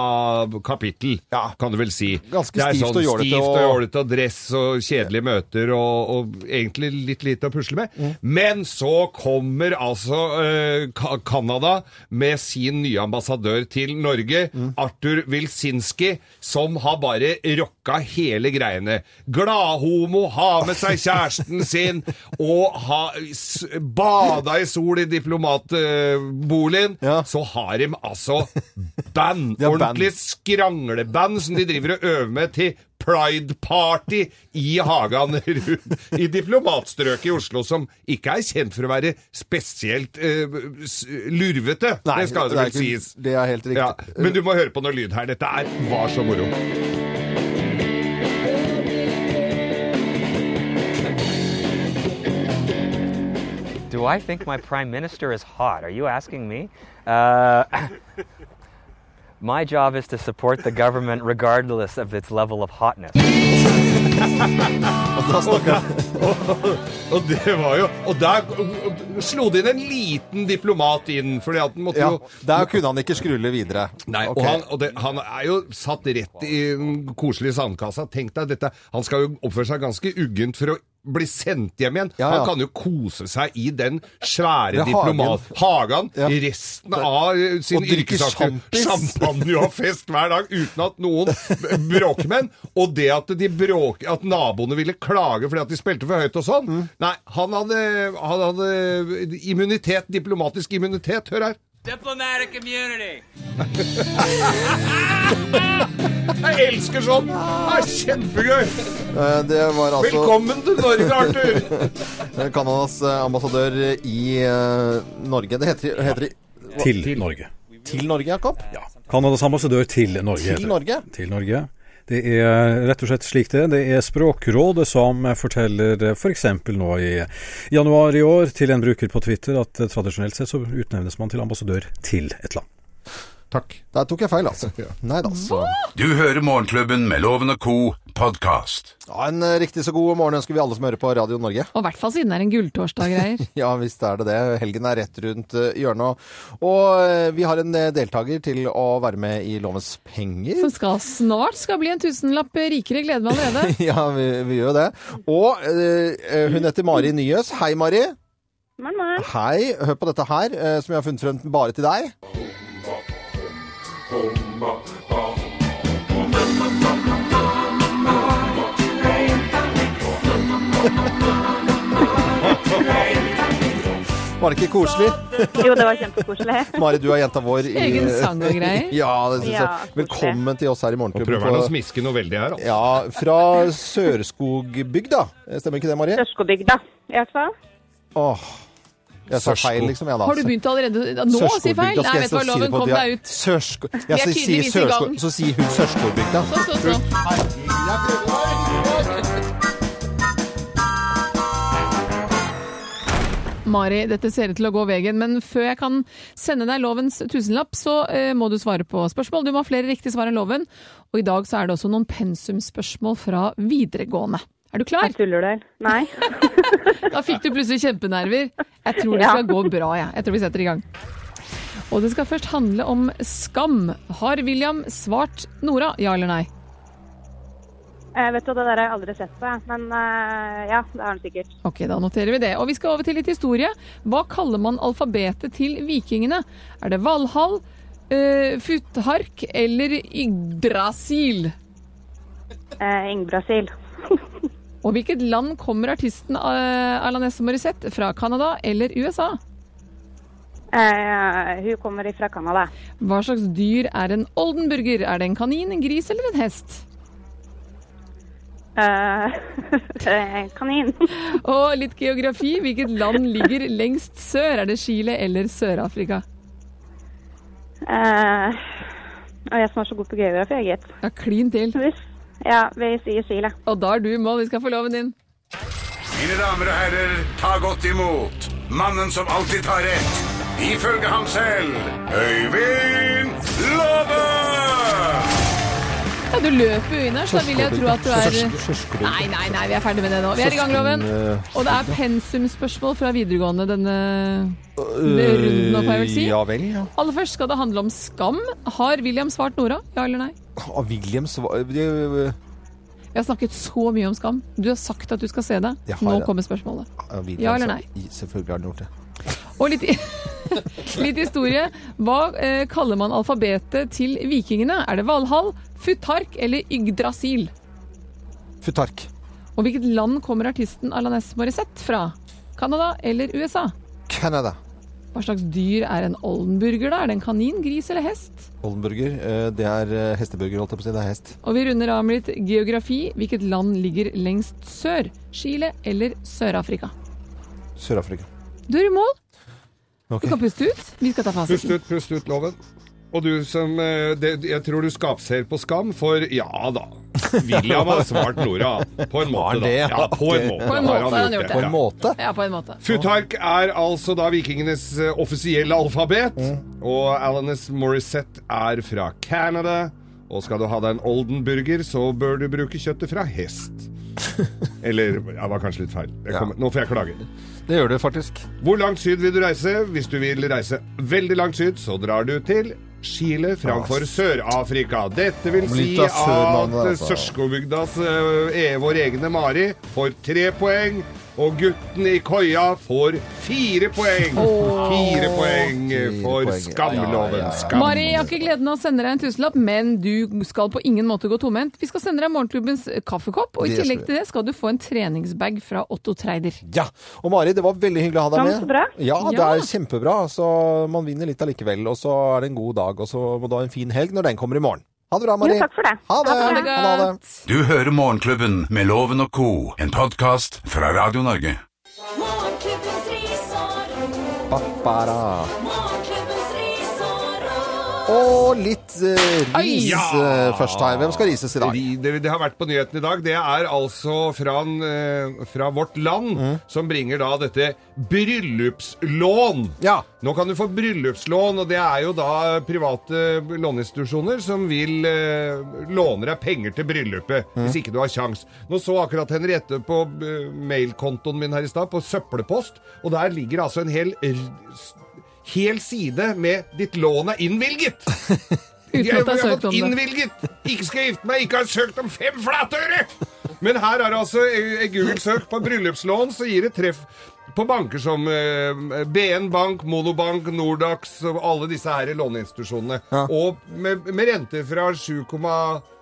Speaker 5: kapittel,
Speaker 3: Ja.
Speaker 5: kan du vel si.
Speaker 3: Ganske
Speaker 5: Det er sånn
Speaker 3: stivt og jålete
Speaker 5: Stivt og
Speaker 3: og-
Speaker 5: jålete og dress og kjedelige møter og, og egentlig litt lite å pusle med. Men så kommer altså eh, Ka- Canada med sin nye ambassadør til Norge,
Speaker 3: Mm.
Speaker 5: Arthur Wilsinski, som har bare rocka hele greiene. Gladhomo, har med seg kjæresten sin og ha, s, bada i sol i diplomatboligen.
Speaker 3: Ja.
Speaker 5: Så har de altså band.
Speaker 3: De har band.
Speaker 5: Ordentlig skrangleband som de driver og øver med til Pride Party i hagen rundt i diplomatstrøket i Oslo, som ikke er kjent for å være spesielt eh, s- lurvete.
Speaker 3: Nei,
Speaker 5: det skal det
Speaker 3: er
Speaker 5: vel
Speaker 3: ikke-
Speaker 5: sies.
Speaker 3: Det er helt
Speaker 5: Ja,
Speaker 3: riktig.
Speaker 5: men du må høre på noe lyd her. Dette er, var så moro.
Speaker 9: Do I think my prime minister is hot? Are you asking me? Uh, my job is to support the government regardless of its level of hotness.
Speaker 3: Og da snakker vi
Speaker 5: Og det var jo Og der slo det inn en liten diplomat inn, fordi at den måtte
Speaker 3: ja,
Speaker 5: jo
Speaker 3: Der kunne han ikke skrulle videre.
Speaker 5: Nei,
Speaker 3: Ok.
Speaker 5: og, han, og det, han er jo satt rett i den koselige sandkassa. Tenk deg dette. Han skal jo oppføre seg ganske uggent for å bli sendt hjem igjen.
Speaker 3: Ja, ja.
Speaker 5: Han kan jo kose seg i den svære
Speaker 3: Det er
Speaker 5: diplomat... Hagen
Speaker 3: Ja.
Speaker 5: resten av eh, sin
Speaker 3: Og drikke
Speaker 5: yrkesaktive
Speaker 3: sjampis.
Speaker 5: champagne og fest hver dag uten at noen b- bråker med han. Og det at, de bråk, at naboene ville klage fordi at de spilte for høyt og sånn
Speaker 3: Mm.
Speaker 5: Nei, han hadde, han hadde immunitet, diplomatisk immunitet. Hør her.
Speaker 9: Diplomatic immunity.
Speaker 5: Jeg elsker sånn! Det er kjempegøy!
Speaker 3: Eh, Det var altså
Speaker 5: Velkommen til Norge, Arthur!
Speaker 3: eh, Canadas eh, ambassadør i eh, Norge. Det heter, heter det
Speaker 6: Til Norge.
Speaker 3: til Norge, Jakob?
Speaker 6: Ja. Canadas ambassadør til Norge. heter det.
Speaker 3: Norge?
Speaker 6: Til Norge. Det er rett og slett slik det er. Det er Språkrådet som forteller f.eks. nå i januar i år til en bruker på Twitter at eh, tradisjonelt sett så utnevnes man til ambassadør til et land.
Speaker 5: Takk.
Speaker 3: Der tok jeg feil, altså. Nei da, så.
Speaker 2: Du hører Morgenklubben med Loven og Co. podkast.
Speaker 3: Ja, en eh, riktig så god morgen ønsker vi alle som hører på Radio Norge.
Speaker 4: Og i hvert fall siden det er en gulltorsdag-greier.
Speaker 3: Ja, visst er det det. Helgen er rett rundt eh, hjørnet. Og eh, vi har en eh, deltaker til å være med i Lovens penger.
Speaker 4: Som skal snart skal bli en tusenlapp rikere. Gleder meg allerede.
Speaker 3: Ja, vi, vi gjør jo det. Og eh, eh, hun heter Mari Nyøs. Hei, Mari. Hei. Hør på dette her, eh, som jeg har funnet frem bare til deg. Var det ikke koselig?
Speaker 7: Jo, det var kjempekoselig.
Speaker 3: Mari, du er jenta vår. i-
Speaker 4: Egen sang og greier.
Speaker 3: Ja, det synes
Speaker 7: Ja,
Speaker 3: jeg. Velkommen til oss her i
Speaker 5: Nå
Speaker 3: Morgenklubben.
Speaker 5: prøver han å
Speaker 3: på-
Speaker 5: smiske noe veldig her, altså.
Speaker 3: Ja, fra Sørskogbygda. Stemmer ikke det, Mari?
Speaker 7: Sørskobygda, i hvert fall.
Speaker 3: Åh, jeg sa feil liksom, jeg da.
Speaker 4: Har du begynt allerede nå å si feil?
Speaker 3: Sørskogbygda,
Speaker 4: Nei,
Speaker 3: skal altså, jeg så
Speaker 4: vet du hva,
Speaker 3: si det
Speaker 4: loven
Speaker 3: på?
Speaker 4: kom
Speaker 3: Vi har-
Speaker 4: deg ut.
Speaker 3: Sørsko... Jeg
Speaker 4: Vi er
Speaker 3: skal si
Speaker 4: tydeligvis i
Speaker 3: Sørsko...
Speaker 4: gang.
Speaker 3: Så sier hun Sørskogbygda.
Speaker 4: Så, så, så. Mari, dette ser ut til å gå veien, men før jeg kan sende deg lovens tusenlapp, så eh, må du svare på spørsmål. Du må ha flere riktige svar enn loven. Og i dag så er det også noen pensumspørsmål fra videregående. Er du klar?
Speaker 7: Tuller du? Nei.
Speaker 4: Da fikk du plutselig kjempenerver. Jeg tror det
Speaker 7: Ja.
Speaker 4: skal gå bra, jeg. Jeg tror vi setter i gang. Og det skal først handle om skam. Har William svart Nora, ja eller nei?
Speaker 7: Eh, vet du, det der har jeg aldri sett på, jeg. Men eh, ja, det har han sikkert.
Speaker 4: Ok, da noterer vi det. Og vi skal over til litt historie. Hva kaller man alfabetet til vikingene? Er det Valhall, eh, Futhark eller Yggdrasil?
Speaker 7: Eh, Ingbrasil.
Speaker 4: Og hvilket land kommer artisten eh, Alanis Morissette fra? Canada eller USA?
Speaker 7: Eh, hun kommer ifra Canada.
Speaker 4: Hva slags dyr er en oldenburger? Er det en kanin, en gris eller en hest?
Speaker 7: Eh, eh, kanin.
Speaker 4: Og litt geografi. Hvilket land ligger lengst sør? Er det Chile eller Sør-Afrika?
Speaker 7: Eh, og jeg som er så god på geografi, jeg, gitt.
Speaker 4: Ja, klin til.
Speaker 7: Hvis- Ja, vi sier Chile.
Speaker 4: Og da er du i mål. Vi skal få loven din.
Speaker 2: Mine damer og herrer, ta godt imot mannen som alltid tar rett, ifølge ham selv, Øyvind Låve!
Speaker 4: Ja, du løper jo innerst. Da vil jeg tro at du er
Speaker 3: Sørskogbygda.
Speaker 4: Nei, nei, nei, vi er ferdig med det nå. Vi er i gang, Loven. Og det er pensumspørsmål fra videregående denne runden, om jeg vil si.
Speaker 3: Øh, Ja vel, ja.
Speaker 4: Aller først skal det handle om skam. Har William svart Nora? Ja eller nei?
Speaker 3: Og Ah, William svar... de-
Speaker 4: Vi har snakket så mye om skam. Du har sagt at du skal se det.
Speaker 3: Jeg har
Speaker 4: Nå
Speaker 3: det.
Speaker 4: kommer spørsmålet.
Speaker 3: Ja, ah, William
Speaker 4: Ja eller
Speaker 3: svar-
Speaker 4: nei?
Speaker 3: I- Selvfølgelig har han gjort det.
Speaker 4: Og litt, litt historie. Hva eh, kaller man alfabetet til vikingene? Er det Valhall, Futhark eller Yggdrasil?
Speaker 3: Futark.
Speaker 4: Og hvilket land kommer artisten Alanis Morissette fra? Canada eller USA?
Speaker 3: Canada.
Speaker 4: Hva slags dyr er en oldenburger, da? Er det en kanin, gris eller hest?
Speaker 3: Oldenburger. eh, Det er eh, hesteburger, holdt jeg på å si. Det er hest.
Speaker 4: Og vi runder av med litt geografi. Hvilket land ligger lengst sør? Chile eller Sør-Afrika?
Speaker 3: Sør-Afrika.
Speaker 4: Du er i mål.
Speaker 3: Ok.
Speaker 4: Du kan puste ut. Vi skal ta
Speaker 5: Pust
Speaker 4: fasiten.
Speaker 5: ut, pust ut, loven. Og du som eh, det, Jeg tror du skapser på skam, for ja da. William har svart Nora. På
Speaker 3: Har
Speaker 5: en måte,
Speaker 3: han
Speaker 5: da.
Speaker 3: det?
Speaker 5: Ja, på en måte,
Speaker 4: På en måte har han gjort det.
Speaker 3: På en
Speaker 5: Ja.
Speaker 3: måte.
Speaker 4: Ja, på en måte.
Speaker 5: Futhark er altså da vikingenes eh, offisielle alfabet. Og Alanis Morissette er fra Canada. Og skal du ha deg en oldenburger, så bør du bruke kjøttet fra hest. Eller ja, det var kanskje litt feil. Jeg kommer, Nå får jeg klage.
Speaker 3: Det gjør du faktisk.
Speaker 5: Hvor langt syd vil du reise? Hvis du vil reise veldig langt syd, så drar du til Chile framfor Sør-Afrika. Dette vil si
Speaker 3: Litt av
Speaker 5: at
Speaker 3: Sørlandet, altså.
Speaker 5: Sørskobygdas eh, er vår egne Mari får tre poeng. Og gutten i koia får fire poeng. Fire poeng
Speaker 3: poeng, ja,
Speaker 5: for
Speaker 3: ja,
Speaker 5: skamloven.
Speaker 3: ja.
Speaker 5: Skam.
Speaker 4: Mari, jeg har ikke gleden av å sende deg en tusenlapp, men du skal på ingen måte gå tomhendt. Vi skal sende deg morgenklubbens eh, kaffekopp, og i
Speaker 3: Det skal
Speaker 4: tillegg
Speaker 3: vi.
Speaker 4: til det skal du få en treningsbag fra Otto Treider.
Speaker 3: Ja, og Mari, det var veldig hyggelig å ha deg med.
Speaker 7: Ja, så bra.
Speaker 3: Ja, det
Speaker 4: Ja.
Speaker 3: er kjempebra. Så man vinner litt allikevel, og så er det en god dag, og så må du ha en fin helg når den kommer i morgen. Ha det bra, Mari.
Speaker 7: Jo, takk for det.
Speaker 3: Ha det.
Speaker 4: Ha det
Speaker 3: Ha det.
Speaker 4: godt!
Speaker 2: Du hører Morgenklubben med Loven og co., en podkast fra Radio Norge.
Speaker 1: Morgenklubbens ris og ros.
Speaker 3: Ba-ba-ra.
Speaker 1: Morgenklubbens ris og ros.
Speaker 3: Og litt eh, ris
Speaker 5: Ja!
Speaker 3: eh, først her. Hvem skal rises i dag?
Speaker 5: Ri- Det, det har vært på nyheten i dag. Det er altså fra, en, eh, fra Vårt Land
Speaker 4: Mm.
Speaker 5: som bringer da dette bryllupslån.
Speaker 3: Ja.
Speaker 5: Nå kan du få bryllupslån, og det er jo da private låneinstitusjoner som vil eh, låne deg penger til bryllupet,
Speaker 4: Mm.
Speaker 5: hvis ikke du har sjans. Nå så akkurat Henriette på eh, mailkontoen min her i stad, på søppelpost, og der ligger altså en hel r- s- Hel side med 'ditt lån er innvilget'!
Speaker 4: Uten
Speaker 5: Jeg,
Speaker 4: at det er
Speaker 5: jeg
Speaker 4: søkt
Speaker 5: har fått
Speaker 4: om det.
Speaker 5: innvilget! Ikke skal gifte meg, ikke har søkt om fem flatøre! Men her er altså eh, Google-søk på bryllupslån, så gir det treff på banker som eh, BN Bank, Monobank, Nordax og alle disse her låneinstitusjonene.
Speaker 3: Ja.
Speaker 5: Og med, med renter fra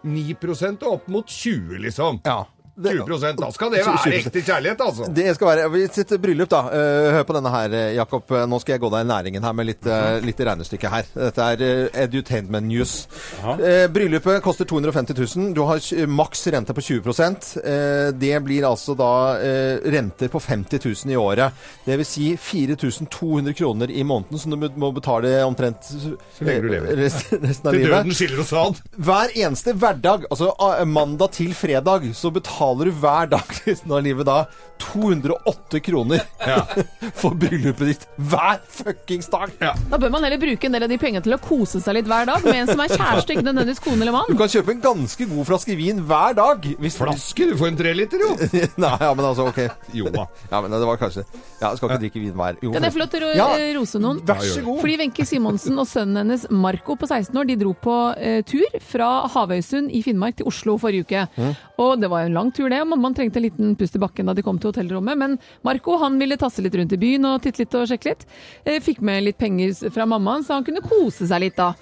Speaker 5: 7,9 og opp mot 20, liksom.
Speaker 3: Ja. Det-
Speaker 5: 20 Da skal det være
Speaker 3: 20%.
Speaker 5: ekte kjærlighet, altså.
Speaker 3: Det skal være vi sitter bryllup, da. Eh, Hør på denne her, eh, Jakob. Nå skal jeg gå deg i næringen her med litt, eh, litt regnestykke her. Dette er eh, Edutainment News. Eh, Bryllupet koster 250 000. Du har tj- maks rente på 20 Eh, Det blir altså da eh, renter på 50 000 i året. Det vil si 4200 kroner i måneden som du må- må betale omtrent Så
Speaker 5: lenge du lever.
Speaker 3: Resten av
Speaker 5: Til
Speaker 3: livet.
Speaker 5: døden skiller oss ad.
Speaker 3: Hver eneste hverdag, altså ah, mandag til fredag, så betaler du hver dag resten av livet da 208 kroner for bryllupet ditt. Hver fuckings dag!
Speaker 4: Da bør man heller bruke en del av de pengene til å kose seg litt hver dag med en som er kjæreste, ikke nødvendigvis kone
Speaker 3: Du
Speaker 4: eller mann.
Speaker 3: kan kjøpe en ganske god flaske vin hver dag. Hvis
Speaker 5: Flaske, du får en treliter, jo.
Speaker 3: Nei, ja, men altså, ok.
Speaker 5: Jo da.
Speaker 3: Ja, men det var kanskje Ja, skal ikke drikke vin hver jo,
Speaker 4: Kan jeg få lov til å
Speaker 3: Ja.
Speaker 4: eh, rose noen?
Speaker 3: Vær så god.
Speaker 4: Fordi Wenche Simonsen og sønnen hennes Marco på 16 år de dro på eh, tur fra Havøysund i Finnmark til Oslo forrige uke.
Speaker 3: Mm.
Speaker 4: Og Det var jo en lang tur, det. og Mammaen trengte en liten pust i bakken da de kom til hotellrommet. Men Marco han ville tasse litt rundt i byen og titte litt og sjekke litt. Eh, fikk med litt penger fra mammaen, så han kunne kose seg litt da.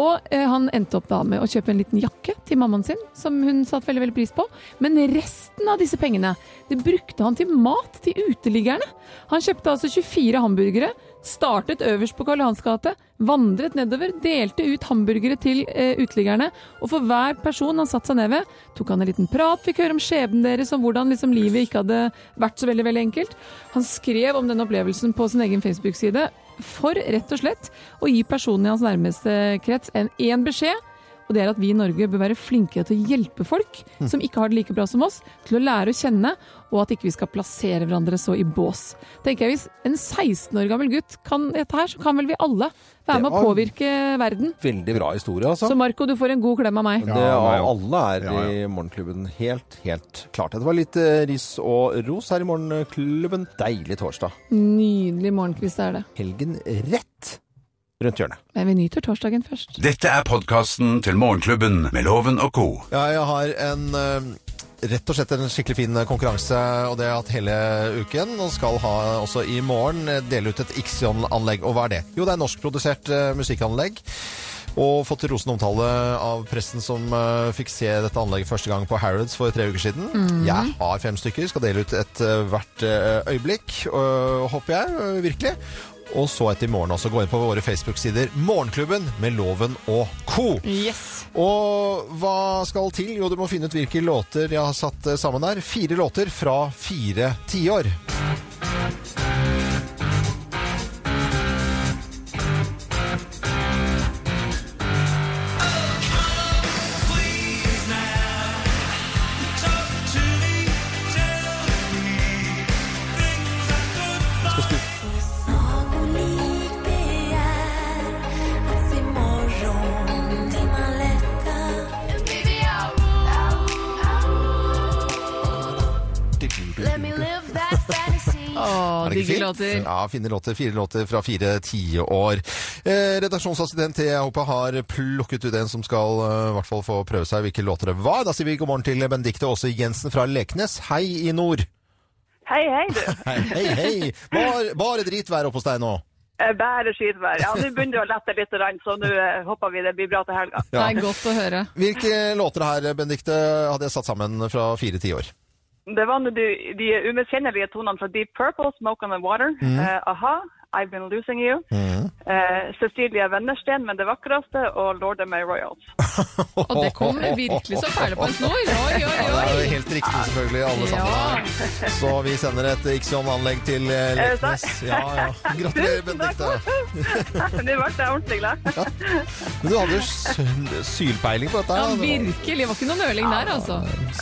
Speaker 4: Og eh, han endte opp da med å kjøpe en liten jakke til mammaen sin, som hun satte veldig veldig pris på. Men resten av disse pengene det brukte han til mat til uteliggerne. Han kjøpte altså 24 hamburgere, startet øverst på Karl Johans gate, vandret nedover, delte ut hamburgere til eh, uteliggerne. Og for hver person han satte seg ned ved, tok han en liten prat, fikk høre om skjebnen deres, om hvordan liksom, livet ikke hadde vært så veldig, veldig enkelt. Han skrev om den opplevelsen på sin egen Facebook-side for rett og slett å gi personen i hans nærmeste krets en én beskjed. Og det er at vi i Norge bør være flinkere til å hjelpe folk
Speaker 3: Mm.
Speaker 4: som ikke har det like bra som oss, til å lære å kjenne, og at ikke vi skal plassere hverandre så i bås. Tenker jeg Hvis en 16 år gammel gutt kan dette her, så kan vel vi alle være
Speaker 3: Det
Speaker 4: med å
Speaker 3: var-
Speaker 4: påvirke verden.
Speaker 3: Veldig bra historie, altså.
Speaker 4: Så Marco, du får en god klem av meg.
Speaker 3: det,
Speaker 5: ja, ja.
Speaker 3: alle er
Speaker 5: Ja, ja.
Speaker 3: i Morgenklubben. Helt, helt klart. Det var litt eh, ris og ros her i Morgenklubben. Deilig torsdag.
Speaker 4: Nydelig morgenkvist er det.
Speaker 3: helgen rett rundt hjørnet.
Speaker 4: Men vi nyter torsdagen først.
Speaker 2: Dette er podkasten til Morgenklubben med Loven og co.
Speaker 3: Ja, jeg har en eh, rett og slett en skikkelig fin eh, konkurranse, og det har jeg hatt hele uken. Og skal ha også i morgen eh, dele ut et Ixion-anlegg. Og hva er det? Jo, det er norskprodusert eh, musikkanlegg. Og fått rosende omtale av pressen som eh, fikk se dette anlegget første gang på Harrods for tre uker siden. Jeg har fem stykker, skal dele ut et eh, hvert eh, øyeblikk, øh, håper jeg øh, virkelig. Og så etter i morgen også gå inn på våre Facebook-sider Morgenklubben med Loven og co.
Speaker 4: Yes!
Speaker 3: Og hva skal til? Jo, du må finne ut hvilke låter jeg har satt eh, sammen der. Fire låter fra fire tiår.
Speaker 1: Sagolik begjær er at i morgen er det man letter. Let me live that fantasy.
Speaker 4: Åh,
Speaker 3: Er det ikke
Speaker 4: digge
Speaker 3: fint?
Speaker 4: låter.
Speaker 3: Ja, fine låter. Fire låter fra fire tiår. Eh, redaksjonsassistent Thea Hoppe har plukket ut en som skal eh, i hvert fall få prøve seg hvilke låter det var. Da sier vi god morgen til Benedikte Åse Jensen fra Leknes. Hei i nord.
Speaker 7: Hei, hei, du.
Speaker 3: Hei, hei. hei. Bare, bare dritvær oppe hos deg nå.
Speaker 7: Eh, Bare skytvær. Ja, nå begynner det å lette litt, grann, så nå eh, håper vi det blir bra til helga.
Speaker 4: Det er godt å høre.
Speaker 3: Hvilke låter her, Benedikte, hadde jeg satt sammen fra fire tiår?
Speaker 7: Det var nå de, de umiskjennelige tonene fra Deep Purple, Smoke on the Water, eh, A-ha, I've Been Losing You,
Speaker 3: Mm.
Speaker 7: eh, Cecilia Wennersten med det vakreste og Lord of My Royals.
Speaker 4: Og det kom virkelig så perle på en snor. Oi, oi,
Speaker 3: Ja, det
Speaker 4: oi.
Speaker 3: er jo helt riktig, selvfølgelig, alle sammen. Så vi sender et Ixion-anlegg til eh,
Speaker 7: det
Speaker 3: Leknes. Ja, ja. Gratulerer, Benedikte.
Speaker 7: Nå ble jeg ordentlig glad.
Speaker 3: Men du hadde jo s- sylpeiling på dette.
Speaker 4: Ja,
Speaker 3: her, da.
Speaker 4: virkelig. Det var ikke noe nøling der, altså.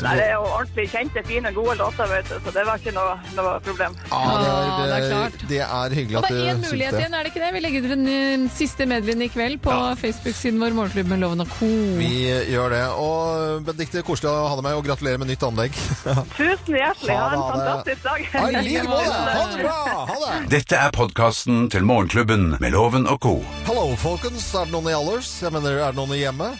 Speaker 7: Nei, det er jo ordentlig kjente, fine, gode låter, vet du, så det var ikke noe, noe problem.
Speaker 3: Ja,
Speaker 4: Ja,
Speaker 3: det,
Speaker 4: det er
Speaker 3: er,
Speaker 4: klart.
Speaker 3: eh, det er hyggelig
Speaker 4: Og
Speaker 3: at
Speaker 4: det
Speaker 3: du
Speaker 4: er én mulighet
Speaker 3: sylte.
Speaker 4: igjen, er det ikke det? Vi legger ut den eh, siste medleyen i kveld på Facebook-siden vår Morgenklubben Loven og Co.
Speaker 3: Vi eh, gjør det. Og Benedikte, koselig å ha deg med, og gratulerer med nytt anlegg.
Speaker 7: Tusen hjertelig. Ha
Speaker 3: Ha det,
Speaker 7: en
Speaker 3: ha det.
Speaker 7: fantastisk dag.
Speaker 3: Ja, I like måte! Ha det bra! Ha det!
Speaker 2: Dette er podkasten til Morgenklubben med Loven og co.
Speaker 3: Hallo, folkens. Er det noen i Allers? Jeg mener, er det noen i hjemmet?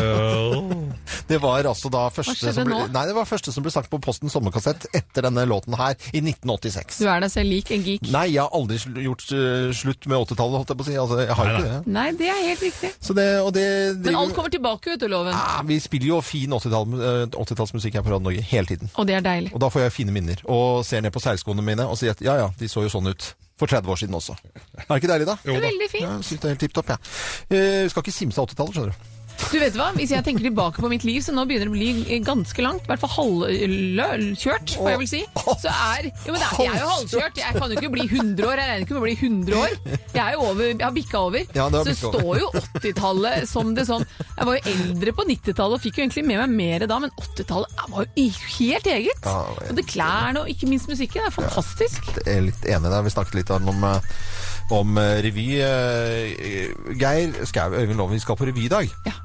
Speaker 3: det var altså da første
Speaker 4: skjedde
Speaker 3: som, ble,
Speaker 4: nå?
Speaker 3: nei, det var første som ble sagt på Posten sommerkassett etter denne låten her i 1986.
Speaker 4: Du er deg selv lik en geek.
Speaker 3: Nei, jeg har aldri sl- gjort eh, slutt med 80-tallet, holdt jeg på å si. Altså, jeg har jo ikke det.
Speaker 4: Nei, det er helt riktig.
Speaker 3: Så det, og det, det
Speaker 4: Men alt kommer tilbake, vet du, Loven.
Speaker 3: Ah, vi spiller jo fin 80-tall- eh, 80-tallsmusikk her på Radio Norge hele tiden.
Speaker 4: Og det er deilig.
Speaker 3: Og da får jeg fine minner. Og ser ned på seilskoene mine og sier at ja ja, de så jo sånn ut for 30 år siden også. Er det ikke deilig, da?
Speaker 4: Det er veldig fint.
Speaker 3: Ja, jeg synes det er helt tipp topp, jeg. Eh, skal ikke simse av 80-tallet, skjønner du.
Speaker 4: Du vet hva, Hvis jeg tenker tilbake på mitt liv, så nå begynner det å bli eh, ganske langt. I hvert fall halvkjørt, får jeg vel si. Så er, jo, men det er, jeg er jo halvkjørt. Jeg kan jo ikke bli 100 år. Jeg regner ikke med å bli 100 år. Jeg er jo over, jeg har bikka over.
Speaker 3: Ja, det har
Speaker 4: så det
Speaker 3: bikket over.
Speaker 4: står jo 80-tallet som det sånn. Jeg var jo eldre på 90-tallet og fikk jo egentlig med meg mer da, men 80-tallet var jo i- helt
Speaker 3: Ja,
Speaker 4: eget.
Speaker 3: det var helt
Speaker 4: Og det klærne og ikke minst musikken er fantastisk.
Speaker 3: Jeg er litt enig der. Vi snakket litt om, om, eh, om eh, revy. eh, Geir Skau, Øyvind Loven, vi skal på revy i dag.
Speaker 4: Ja.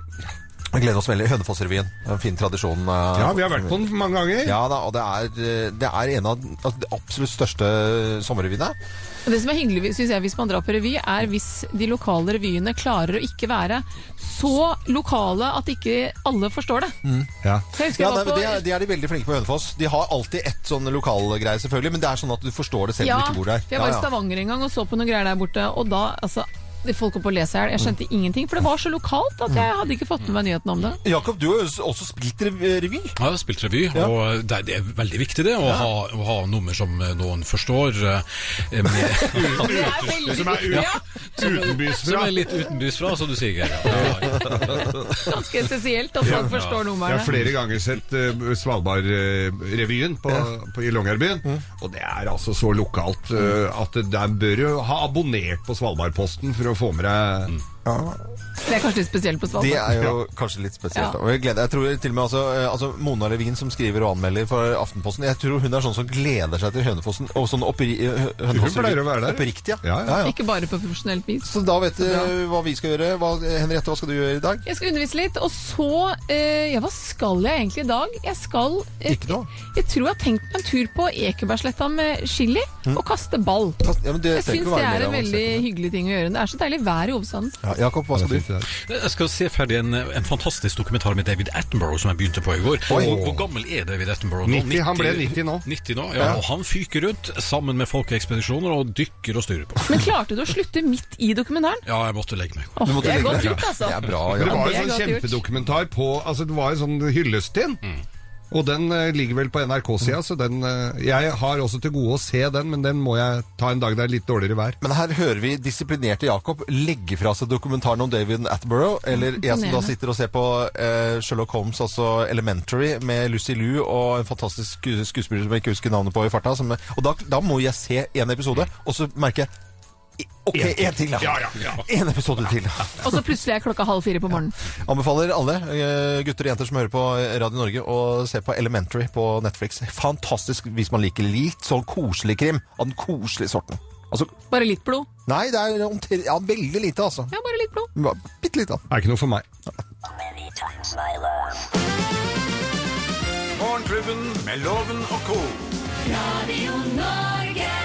Speaker 3: Vi gleder oss veldig. Hønefoss-revyen. En fin tradisjon. eh,
Speaker 5: Ja, vi har vært på den mange ganger.
Speaker 3: Ja da, og det er, eh, det er en av den- altså, de absolutt største sommerrevyene.
Speaker 4: Og Det som er hyggelig synes jeg, hvis man drar på revy, er hvis de lokale revyene klarer å ikke være så lokale at ikke alle forstår det.
Speaker 5: Ja.
Speaker 4: Så jeg
Speaker 3: Mm. Ja,
Speaker 4: husker jeg
Speaker 3: nei,
Speaker 4: var
Speaker 3: men
Speaker 4: på,
Speaker 3: de, er, de er de veldig flinke på Hønefoss. De har alltid ett sånn lokalgreie, selvfølgelig, men det er sånn at du forstår det selv
Speaker 4: ja,
Speaker 3: om du ikke bor der.
Speaker 4: for jeg var i Stavanger en gang og så på noen greier der borte, og da altså, de folk opp og lese her, jeg
Speaker 3: Mm.
Speaker 4: skjønte ingenting, for det var så lokalt at jeg hadde ikke fått med meg nyheten om det.
Speaker 3: Jakob, du har jo også spilt rev- revy.
Speaker 6: Jeg har spilt revy, og det, det er veldig viktig det, å, ha, å ha nummer som noen forstår. eh, Med,
Speaker 4: Det er veldig
Speaker 5: Som er
Speaker 4: viktig,
Speaker 5: ut-
Speaker 4: ja.
Speaker 5: Utenbys
Speaker 6: som
Speaker 5: fra.
Speaker 6: er litt utenbys fra, som du sier, Geir. Ja, ja.
Speaker 4: Ganske essensielt at folk forstår
Speaker 5: Jeg har
Speaker 4: numrene.
Speaker 5: flere ganger sett eh, Svalbardrevyen på, på, i Longyearbyen. Og det er altså så lokalt eh, at der bør du ha abonnert på Svalbardposten for å få med deg
Speaker 4: Det er kanskje litt spesielt på
Speaker 3: Det
Speaker 4: Svalbard.
Speaker 3: er jo kanskje litt spesielt.
Speaker 4: Ja.
Speaker 3: Og jeg, gleder, jeg tror til og med altså, eh, altså Mona Levin, som skriver og anmelder for Aftenposten, jeg tror hun er sånn som gleder seg til Hønefossen. Og sånn oppri, Hønefossen
Speaker 5: pleier å være der.
Speaker 3: Oppriktig, ja.
Speaker 5: Ja, ja.
Speaker 4: Ikke bare på profesjonelt vis.
Speaker 3: Så da vet du eh, hva vi skal gjøre. Hva, Henriette, hva skal du gjøre i dag?
Speaker 4: Jeg skal undervise litt, og så eh, Ja, hva skal jeg egentlig i dag? Jeg skal eh,
Speaker 3: Ikke noe?
Speaker 4: Jeg, tror jeg har tenkt meg en tur på Ekebergsletta med chili og kaste ball.
Speaker 3: Ja, men Mm. det
Speaker 4: Jeg
Speaker 3: trenger
Speaker 4: syns
Speaker 3: ikke å være
Speaker 4: det
Speaker 3: mer
Speaker 4: er en
Speaker 3: avansert
Speaker 4: veldig
Speaker 3: enn det.
Speaker 4: hyggelig ting å gjøre. Det er så deilig vær i hovedstaden.
Speaker 3: ja, Jakob, hva skal du?
Speaker 6: Jeg skal se ferdig en, en fantastisk dokumentar med David Attenborough som jeg begynte på i går. Hvor, hvor gammel er David Attenborough nå?
Speaker 5: 90, han ble 90 nå.
Speaker 6: 90 nå, ja, Og han fyker rundt sammen med folkeekspedisjoner og dykker og styrer på.
Speaker 4: Men klarte du å slutte midt i dokumentaren?
Speaker 6: Ja, jeg måtte legge meg.
Speaker 4: Åh,
Speaker 3: måtte
Speaker 4: det er
Speaker 3: legge
Speaker 4: godt
Speaker 3: deg.
Speaker 4: gjort, altså.
Speaker 3: Det er bra,
Speaker 5: Men det
Speaker 3: Jakob.
Speaker 5: var
Speaker 4: det er
Speaker 5: jo en sånn
Speaker 4: godt gjort.
Speaker 5: kjempedokumentar på Altså, det var en sånn hyllest til den. Og den eh, ligger vel på NRK-sida, så den eh, Jeg har også til gode å se den, men den må jeg ta en dag det er litt dårligere vær.
Speaker 3: Men her hører vi disiplinerte Jakob legge fra seg dokumentaren om David Attenborough, eller jeg som da
Speaker 4: Imponerende.
Speaker 3: sitter og ser på eh, Sherlock Holmes, altså Elementary, med Lucy Liu og en fantastisk sku skuespiller som jeg ikke husker navnet på i farta. Som, og da, da må jeg se en episode, og så merker jeg i- OK, én til, da.
Speaker 5: Ja, ja, ja.
Speaker 3: En episode til.
Speaker 4: Og så plutselig er klokka halv fire på morgenen.
Speaker 3: Anbefaler alle eh, gutter og jenter som hører på Radio Norge, å se på Elementary på Netflix. Fantastisk hvis man liker litt sånn koselig krim av den koselige sorten. Altså,
Speaker 4: Bare litt blod.
Speaker 3: nei, det er omtrent ja, veldig lite, altså.
Speaker 4: Ja, bare litt blod.
Speaker 3: Bitte lite.
Speaker 5: Er ikke noe for meg.
Speaker 2: Morgenklubben med Loven og co.
Speaker 1: Radio Norge.